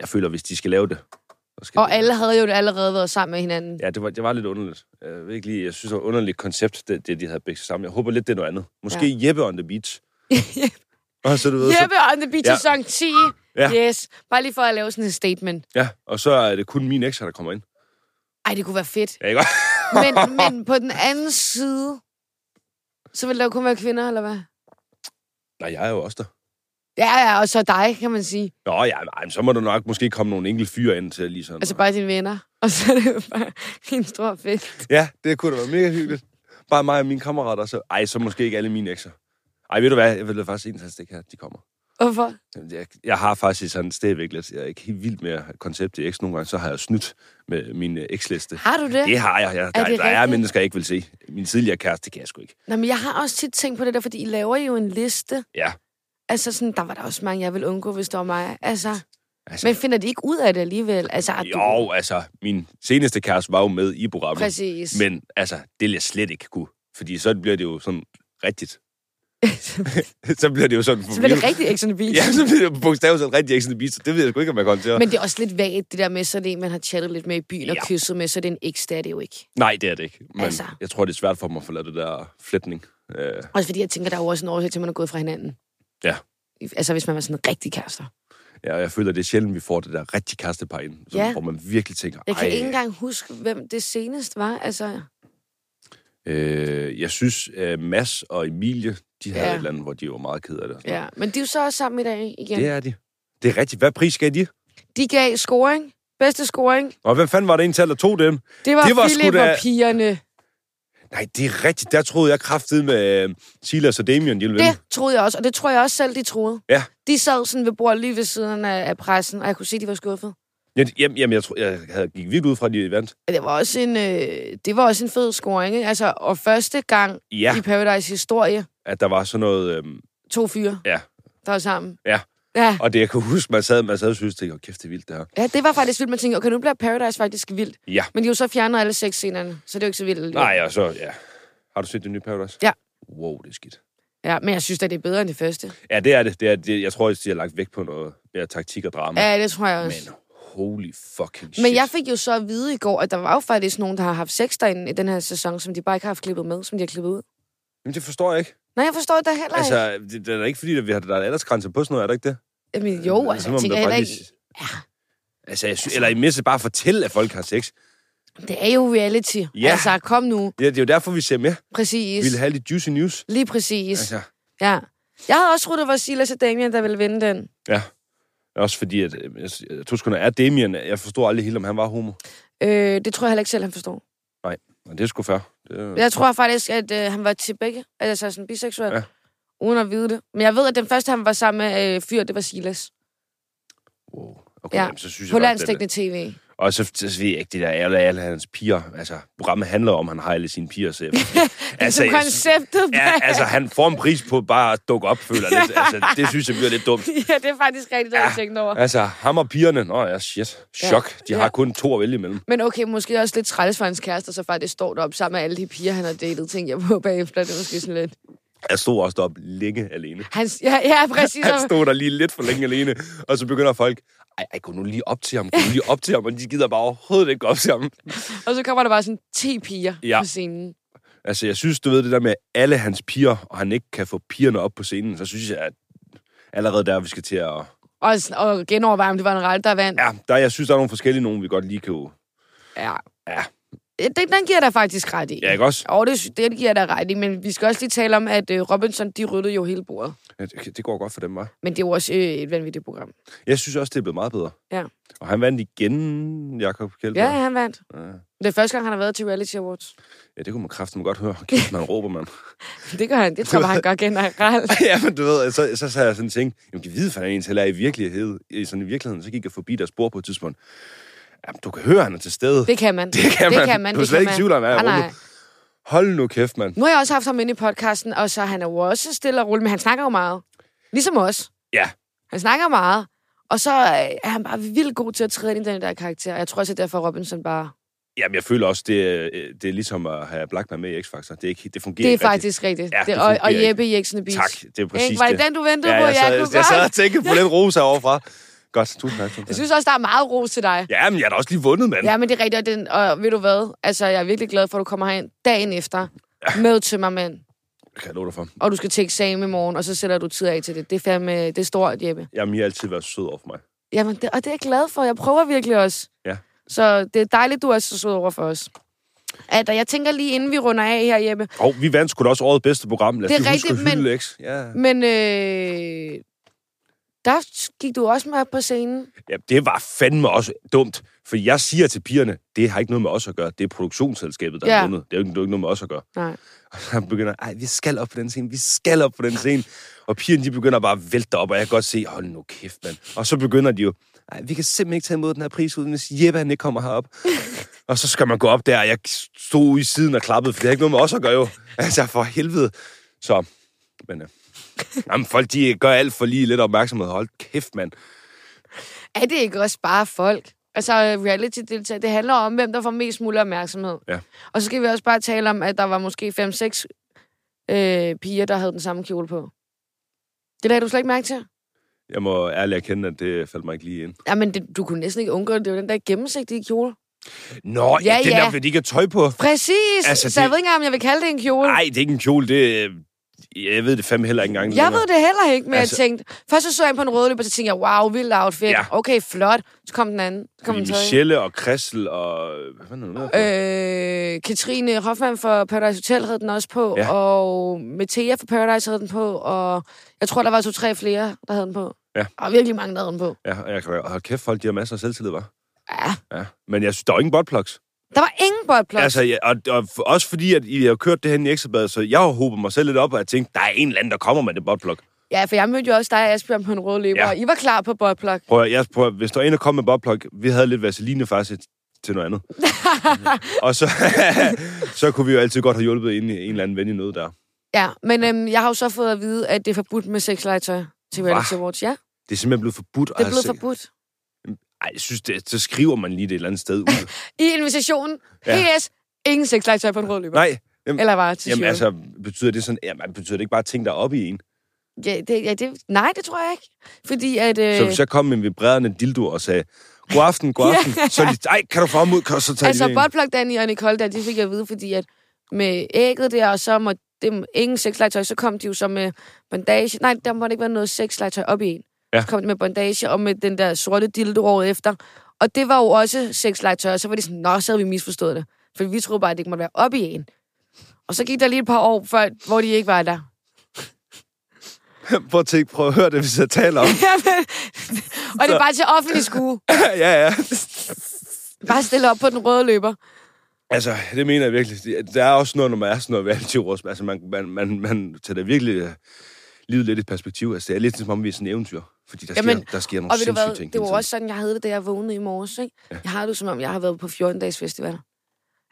S2: jeg føler, hvis de skal lave det, så skal
S1: Og
S2: de...
S1: alle havde jo det allerede været sammen med hinanden.
S2: Ja, det var, det var lidt underligt. Jeg, ved ikke lige, jeg synes, det var et underligt koncept, det, det de havde begge sammen. Jeg håber lidt, det er noget andet. Måske ja. Jeppe on the Beach. og så, du ved, så,
S1: Jeppe on the beach
S2: Ja.
S1: ja. sæson 10.
S2: Ja.
S1: Ja. Yes. Bare lige for at lave sådan en statement.
S2: ja, og så er det kun min ekstra, der kommer ind.
S1: Ej, det kunne være fedt.
S2: Ja, ikke?
S1: Men, men på den anden side, så ville der jo kun være kvinder, eller hvad?
S2: Nej, jeg er jo også der.
S1: Ja, ja, og så dig, kan man sige.
S2: Nå, ja, nej, men så må der nok måske komme nogle enkelte fyre ind til lige sådan.
S1: Altså bare dine venner. Og så er det jo bare en stor fest.
S2: Ja, det kunne da være mega hyggeligt. Bare mig og mine kammerater. Så, ej, så måske ikke alle mine ekser. Ej, ved du hvad? Jeg vil faktisk egentlig helst ikke have, at de kommer.
S1: Hvorfor?
S2: Jamen, Jeg, jeg har faktisk sådan stadigvæk lidt... Jeg er ikke helt vild med konceptet X nogle gange. Så har jeg snydt med min øh, eksliste.
S1: Har du det?
S2: Det har jeg. jeg der,
S1: det
S2: der er
S1: rigtigt?
S2: mennesker, jeg ikke vil se. Min tidligere kæreste, det kan jeg sgu ikke.
S1: Nå, men jeg har også tit tænkt på det der, fordi I laver jo en liste.
S2: Ja.
S1: Altså, sådan, der var der også mange, jeg ville undgå, hvis det var mig. Altså,
S2: Altså,
S1: men finder de ikke ud af det alligevel? Altså, at Du...
S2: jo, altså, min seneste kæreste var jo med i programmet.
S1: Præcis.
S2: Men altså, det ville jeg slet ikke kunne. Fordi så bliver det jo sådan rigtigt. så bliver det jo sådan...
S1: så bliver det rigtig ikke sådan
S2: Ja, så bliver det jo bogstaveligt sådan rigtig X on the Beach. Det ved jeg sgu ikke, om jeg kommer til at...
S1: Men det er også lidt vagt, det der med, så er det en, man har chattet lidt med i byen ja. og
S2: Ja.
S1: kysset med, så er det en eks, det er det jo ikke.
S2: Nej, det er det ikke. Men
S1: Altså.
S2: altså. jeg tror, det er svært for mig at få lavet det der flætning. Øh,
S1: Også fordi jeg tænker, der er jo også en årsag til, at man er gået fra hinanden.
S2: ja.
S1: Altså, hvis man var sådan rigtig kærester.
S2: ja, og jeg føler, det er sjældent, vi får det der rigtig kærestepar ind. Så,
S1: Ja.
S2: Hvor man virkelig tænker,
S1: Jeg kan
S2: "Ej,
S1: ikke engang huske, hvem det senest var. Altså,
S2: øh, jeg synes, øh, Mads og Emilie, de havde
S1: Ja.
S2: et eller andet, hvor de var meget ked af det.
S1: ja. Men de er jo så også sammen i dag igen.
S2: Det er de. Det er rigtigt. Hvad pris gav de?
S1: De gav scoring. Bedste scoring.
S2: Og hvem fanden var det en tal, der tog den?
S1: Det var,
S2: Det var sgu
S1: Philip og
S2: da- Øhm.
S1: pigerne.
S2: Nej, det er rigtigt. Der troede jeg kraftede med øh, Silas og Damien, de ville vinde.
S1: Det troede jeg også, og det tror jeg også selv, de troede.
S2: Ja.
S1: De sad sådan ved bordet lige ved siden af, af pressen, og jeg kunne se, de var skuffet.
S2: Jeg- Jamen, jamen jeg, tror, jeg havde, gik virkelig ud fra, at de vandt.
S1: Og Det var også en, øh, det var også en fed scoring, ikke? Altså, og første gang
S2: Ja,
S1: i Paradise historie,
S2: at der var sådan noget... Øh,
S1: to fyre,
S2: ja,
S1: der var sammen.
S2: ja.
S1: Ja.
S2: Og det, jeg kan huske, man sad, man sad og synes, tænkte, "Åh, kæft, det er vildt, det her.
S1: ja, det var faktisk vildt. Man tænkte, okay, nu bliver Paradise faktisk vildt.
S2: Ja.
S1: Men de har jo så fjernet alle seks scenerne, så det er jo ikke så vildt. alligevel.
S2: Nej, og så, ja. Har du set det nye Paradise?
S1: Ja.
S2: Wow, det er skidt.
S1: Ja, men jeg synes da, det er bedre end det første.
S2: Ja, det er det. det, er, det jeg tror, at de har lagt væk på noget ja, taktik og drama.
S1: Ja, det tror jeg også.
S2: Men holy fucking shit.
S1: Men jeg fik jo så at vide i går, at der var jo faktisk nogen, der har haft sex derinde i den her sæson, som de bare ikke har haft klippet med, som de har klippet ud.
S2: Jamen, det forstår jeg ikke.
S1: Nej, jeg forstår det da heller ikke.
S2: Altså, det, det er da ikke fordi, at vi har, der er en aldersgrænse på sådan noget, er der ikke det?
S1: Jamen, jo,
S2: øh,
S1: altså, jeg tænker heller ikke...
S2: Ja. Altså, jeg synes, eller i mindste bare fortælle, at folk har sex.
S1: Det er jo reality.
S2: Ja.
S1: Altså, kom nu.
S2: Det, er- det er jo derfor, vi ser med.
S1: Præcis.
S2: Vi vil have lidt juicy news.
S1: Lige præcis.
S2: Altså,
S1: Ja. Jeg havde også troet, det var Silas og Damien, der ville vinde den.
S2: ja. Også fordi, at øh, jeg, jeg tror sgu, når er Damien, jeg forstod aldrig helt, om han var homo.
S1: Øh, det tror jeg heller ikke selv, han forstår.
S2: Nej, men det er sgu fair. Det, er-
S1: Jeg tror faktisk, at øh, han var til begge. Altså sådan biseksuel. Ja.
S2: Ja.
S1: Uden at vide det. Men jeg ved, at den første, han var sammen med øh, fyr, det var Silas.
S2: Wow. Okay,
S1: Ja.
S2: jamen, så synes
S1: På
S2: jeg godt, det er
S1: landstækkende tv.
S2: det. Og så, så ved jeg ikke, det der alle, alle hans piger. Altså, programmet handler om, at han har alle sine piger. Så jeg,
S1: Altså,
S2: altså,
S1: som
S2: jeg-
S1: konceptet.
S2: ja, altså, han får en pris på bare at dukke op, føler jeg lidt. Altså, det synes jeg bliver lidt dumt.
S1: ja, det er faktisk rigtigt, det har jeg tænkt over.
S2: Altså, ham og pigerne, nå ja, shit, chok. De har
S1: Ja.
S2: kun to at vælge imellem.
S1: Men okay, måske også lidt træls for hans kæreste, så faktisk står deroppe sammen med alle de piger, han har datet, tænker jeg på bagefter. Det er måske sådan lidt...
S2: Jeg stod også deroppe længe alene.
S1: Han, ja, ja, præcis.
S2: Han stod der lige lidt for længe alene, og så begynder folk, ej, ej, gå nu lige op til ham, gå nu lige op til ham, og de gider bare overhovedet ikke gå op til ham.
S1: Og så kommer der bare sådan 10 piger ja.
S2: Ja.
S1: på scenen.
S2: Altså, jeg synes, du ved det der med at alle hans piger, og han ikke kan få pigerne op på scenen, så synes jeg, at allerede der, vi skal til at...
S1: Og, sådan- og genoverveje, om det var en rejle, der vandt.
S2: Ja, der, jeg synes, der er nogle forskellige nogen, vi godt lige kan...
S1: ja.
S2: Ja.
S1: Det, den giver der faktisk ret i.
S2: Ja, ikke også?
S1: Og det, sy- det giver der ret i, men vi skal også lige tale om, at øh, Robinson, de ryddede jo hele bordet.
S2: Ja, Det, det går godt for dem, var.
S1: Men det er jo også øh, et vanvittigt program.
S2: Jeg synes også, det er blevet meget bedre.
S1: Ja.
S2: Og han vandt igen, Jakob Kjeldberg.
S1: Ja, han vandt.
S2: Ja.
S1: Det er første gang, han har været til Reality Awards.
S2: ja, det kunne man kraftigt godt høre. Kæft, man råber, man.
S1: Det gør han. Det tror jeg, han gør generelt.
S2: ja, men du ved, så, så sad jeg sådan og tænkte, jamen, kan vide, hvad han egentlig er i virkelighed. I, sådan, I virkeligheden, så gik jeg forbi der spor på et tidspunkt. Jamen, du kan høre, han er til stede.
S1: Det kan man.
S2: Det kan
S1: Det
S2: man.
S1: kan man.
S2: Du er
S1: det
S2: slet
S1: kan
S2: ikke
S1: man.
S2: i tvivl om, hvad jeg
S1: Ah, nej.
S2: rummer. Hold nu kæft, mand.
S1: Nu har jeg også haft ham inde i podcasten, og så han er jo også stille og rolig, men han snakker jo meget. Ligesom os.
S2: Ja.
S1: Han snakker meget. Og så øh, er han bare vildt god til at træde ind i den der karakter. Jeg tror også, at derfor er Robinson bare...
S2: Jamen, jeg føler også, det, er- øh, det er ligesom at have Blackman med i X-Factor. Det, er ikke, det fungerer
S1: Det er
S2: ikke
S1: faktisk rigtigt.
S2: Ja,
S1: det,
S2: det
S1: og, og
S2: fungerer
S1: Jeppe i Exxon Beach.
S2: Tak, det er præcis
S1: Ikke? Var det den, du ventede på?
S2: jeg,
S1: Ja,
S2: sad,
S1: jeg
S2: jeg,
S1: kunne
S2: jeg sad
S1: godt.
S2: og tænkte på lidt rosa overfra. Godt, tusind tak. Tusind
S1: Jeg
S2: tak.
S1: synes også, der er meget ros til dig.
S2: Ja, men jeg har da også lige vundet, mand.
S1: Ja, men det er rigtigt. Og, den, og ved du hvad? Altså, jeg er virkelig glad for, at du kommer herind dagen efter med tømmermænd,
S2: Kan jeg love dig for.
S1: og du skal til eksamen i morgen, og så sætter du tid af til det. Det er fandme, det er stort, Jeppe.
S2: Jamen, I har altid været sød over for mig.
S1: Jamen, det, og det er jeg glad for. Jeg prøver virkelig også.
S2: Ja.
S1: Så det er dejligt, du er så sød over for os. At, og jeg tænker lige, inden vi runder af her, Jeppe.
S2: Og vi vandt sgu da også årets bedste program. Lad os
S1: Det er
S2: lige huske
S1: rigtigt,
S2: at hylde X. Ja.
S1: Men øh, der gik du også med op på scenen.
S2: ja, det var fandme også dumt. For jeg siger til pigerne, det har ikke noget med os at gøre. Det er produktionsselskabet, der ja.
S1: Ja.
S2: har vundet. Det er jo ikke, det er jo ikke noget med os at gøre.
S1: Nej.
S2: Og så begynder, ej, vi skal op på den scene, vi skal op på den scene. Og pigerne, de begynder bare at vælte op, og jeg kan godt se, hold nu kæft, mand. Og så begynder de jo, ej, vi kan simpelthen ikke tage imod den her pris, uden hvis Jeppe, han ikke kommer herop. og så skal man gå op der, og jeg stod ude i siden og klappede, for det har ikke noget med os at gøre jo. Altså, for helvede. Så, men, øh, jamen, folk, de gør alt for lige lidt opmærksomhed. Hold kæft, mand.
S1: Er det ikke også bare folk? Altså reality-deltager, det handler om, hvem der får mest mulig opmærksomhed.
S2: Ja.
S1: Og så skal vi også bare tale om, at der var måske 5-6 øh, piger, der havde den samme kjole på. Det lagde du slet ikke mærke til?
S2: Jeg må ærligt erkende, at det faldt mig ikke lige ind.
S1: Jamen, det, du kunne næsten ikke undgå det. Det var den der gennemsigtige kjole.
S2: Nå, ja,
S1: Ja,
S2: ja. den
S1: ja.
S2: der, hvor de ikke har tøj på.
S1: Præcis!
S2: Altså,
S1: Altså, så jeg
S2: det-
S1: ved ikke engang, om jeg vil kalde det en kjole.
S2: Nej, det er ikke en kjole, det er... Jeg ved det fandme heller ikke engang.
S1: Jeg
S2: længere.
S1: ved det heller ikke, men altså,
S2: Altså-
S1: jeg tænkte... Først så, så jeg en på en rødløb, og så tænkte jeg, wow, vild outfit.
S2: Ja.
S1: Ja. Okay, flot. Så kom den anden. Så kom
S2: Fordi
S1: den tredje.
S2: Michelle og Kressel og... Hvad fanden er det, hun hedder?
S1: Øh, Katrine Hoffmann fra Paradise Hotel havde den også på,
S2: Ja.
S1: ja. og Metea fra Paradise havde den på, og jeg tror, der var to-tre flere, der havde den på.
S2: Ja.
S1: Og virkelig mange, der havde den på.
S2: Ja, og jeg kan og hold kæft, folk de har masser af selvtillid, var.
S1: Ja.
S2: Ja. Men jeg synes, der er jo ingen botplugs.
S1: Der var ingen buttplugs.
S2: Altså, jeg, og, og, f- også fordi, at I har kørt det her i Ekstrabladet, så jeg har håbet mig selv lidt op, og jeg tænkte, der er en eller anden, der kommer med det botplug.
S1: Ja, for jeg mødte jo også dig, Asbjørn, på en rød løber,
S2: Ja.
S1: ja. og I var klar på buttplug.
S2: Prøv, at- jeg, prøv, at- hvis der er en, der kommer med botplug, vi havde lidt vaseline faktisk til noget andet. og så, så kunne vi jo altid godt have hjulpet en, en eller anden ven i noget der.
S1: Ja, men øhm, jeg har jo så fået at vide, at det er forbudt med sexlegetøj til Reality Awards. Ja,
S2: Det er simpelthen blevet forbudt. altså-
S1: det er blevet forbudt.
S2: Ej, jeg synes, det, så skriver man lige det et eller andet sted ud.
S1: I invitationen,
S2: Ja.
S1: ja. PS, ingen sexlegetøj på en rød løber.
S2: Nej, jamen,
S1: Eller var til
S2: jamen
S1: showet.
S2: altså, betyder det sådan, jamen, betyder det ikke bare ting, der er oppe i en?
S1: Ja, det, ja, det, nej, det tror jeg ikke. Fordi at... Øh,
S2: Så hvis jeg kom med en vibrerende dildo og sagde, god aften, god aften, så er de, ej, kan du få ham ud, kan du så tage
S1: Altså,
S2: det
S1: buttplug Danny og Nicole der, de fik jeg at vide, fordi at med ægget der, og så må dem ingen sexlegetøj, så kom de jo så med bandage. Nej, der måtte ikke være noget sexlegetøj op i en.
S2: Ja.
S1: Ja. Så kom de med bandage og med den der sorte dildo året efter. Og det var jo også sexlegetøj, og så var de sådan, nå, så havde vi misforstået det. For vi troede bare, at det ikke måtte være op i en. Og så gik der lige et par år, før, hvor de ikke var der.
S2: Prøv at tænke, prøv at høre det, hvis jeg taler om.
S1: Og det er bare til offentlig skue.
S2: ja, ja.
S1: Bare stille op på den røde løber.
S2: Altså, det mener jeg virkelig. Der er også noget, når man er sådan noget reality wars. Altså, man, man, man, man tager det virkelig øh, livet lidt i perspektiv. Altså, det er lidt som om, vi er sådan en eventyr. Fordi der, Jamen,
S1: Jamen,
S2: sker, der sker nogle
S1: Og ved du
S2: sindssyge
S1: hvad,
S2: ting.
S1: det var
S2: hele tiden.
S1: også sådan, jeg havde det, da jeg vågnede i morges. Ikke? Ja. Jeg har det som om, jeg har været på 14-dages festival.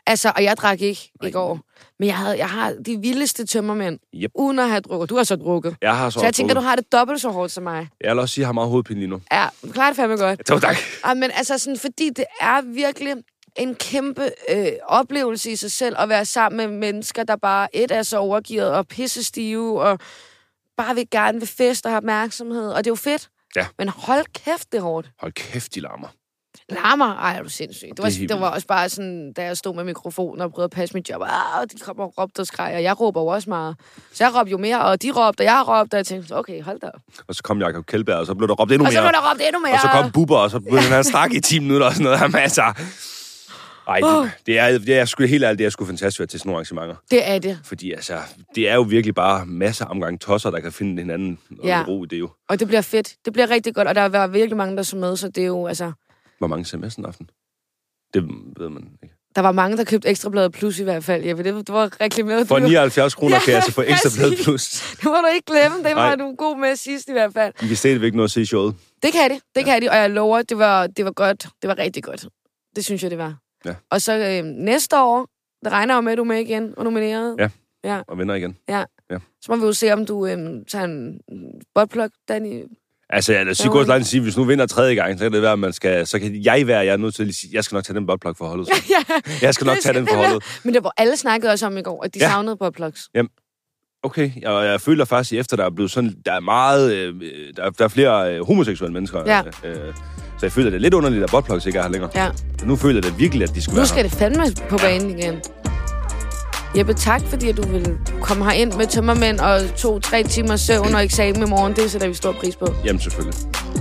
S1: Altså, og jeg drak ikke i går. Men jeg, havde, jeg har de vildeste tømmermænd,
S2: Yep.
S1: uden at have drukket. Du har så drukket.
S2: Jeg har så,
S1: Så jeg tænker, du har det dobbelt så hårdt som mig.
S2: Jeg vil også sige, at jeg har meget hovedpine lige nu.
S1: Ja, du klarer det fandme godt.
S2: Jo, tak.
S1: Ej, men altså, sådan, fordi det er virkelig en kæmpe øh, oplevelse i sig selv at være sammen med mennesker, der bare et er så overgivet og pissestive og bare vil gerne vil fest og have opmærksomhed. Og det er jo fedt.
S2: Ja.
S1: Men hold kæft, det er hårdt.
S2: Hold kæft, de larmer.
S1: Larmer? Ej, er du sindssyg. Det var,
S2: Det er helt
S1: det, det var også bare sådan, da jeg stod med mikrofonen og prøvede at passe mit job. Ah, de kommer og råbte og skreg, og jeg råber jo også meget. Så jeg råbte jo mere, og de råbte, og jeg råbte, og jeg tænkte, okay, hold da op.
S2: Og så kom Jacob Kjeldberg, og så blev der råbt endnu
S1: Og så
S2: mere.
S1: blev der råbt endnu mere.
S2: Og så kom Bubber, og så begyndte han at snakke i 10 minutter og sådan noget. Jamen, altså... Ej, det, det, er, det er sgu helt ærligt, det er sgu fantastisk at være til sådan nogle arrangementer.
S1: Det er det.
S2: Fordi altså, det er jo virkelig bare masser af omgang tosser, der kan finde hinanden og
S1: Ja.
S2: ja. ro i det jo.
S1: Og det bliver fedt. Det bliver rigtig godt, og der var virkelig mange, der så med, så det er jo, altså...
S2: Hvor mange ser med sådan en aften? Det ved man ikke.
S1: Der var mange, der købte ekstrabladet plus i hvert fald. Ja, det, det var reklameret.
S2: For
S1: Det var-
S2: 79 kroner kan jeg altså få
S1: Ja,
S2: ekstra blad
S1: præcis.
S2: plus.
S1: Det må du ikke glemme. Det
S2: Nej.
S1: var du god med sidst i hvert fald.
S2: I kan stadigvæk nå at se showet.
S1: Det kan de, det kan de, og jeg lover, det var, det var godt. Det var rigtig godt. Det synes jeg, det var.
S2: Ja.
S1: Og så øh, næste år, der regner jeg jo med, at du er med igen og nomineret.
S2: Ja. Og vender igen.
S1: Så må vi jo se, om du øh, tager en botplug, Danny.
S2: Altså, jeg
S1: Ja,
S2: Sigurd
S1: okay.
S2: Lange sige, hvis nu vinder tredje gang, så kan det være, at man skal... Så kan jeg være, jeg er nødt til at lige sige, jeg skal nok tage den botplug for holdet. så.
S1: ja,
S2: Jeg skal nok tage den for holdet.
S1: Men det var alle snakkede også om i går, at de
S2: Ja.
S1: ja. savnede botplugs.
S2: Okay, og jeg føler faktisk, efter der er blevet sådan... Der er meget... Øh, øh, der, er, der er flere øh, homoseksuelle mennesker.
S1: Ja.
S2: Øh, så jeg føler, det er lidt underligt, at botplugs ikke er her længere.
S1: Ja.
S2: Nu føler jeg da virkelig, at de skulle
S1: Nu
S2: være
S1: skal det fandme på banen igen. Jeppe, tak fordi at du vil komme herind med tømmermænd og to-tre timer søvn og eksamen i morgen. Det sætter vi stor pris på.
S2: her. Jamen, selvfølgelig.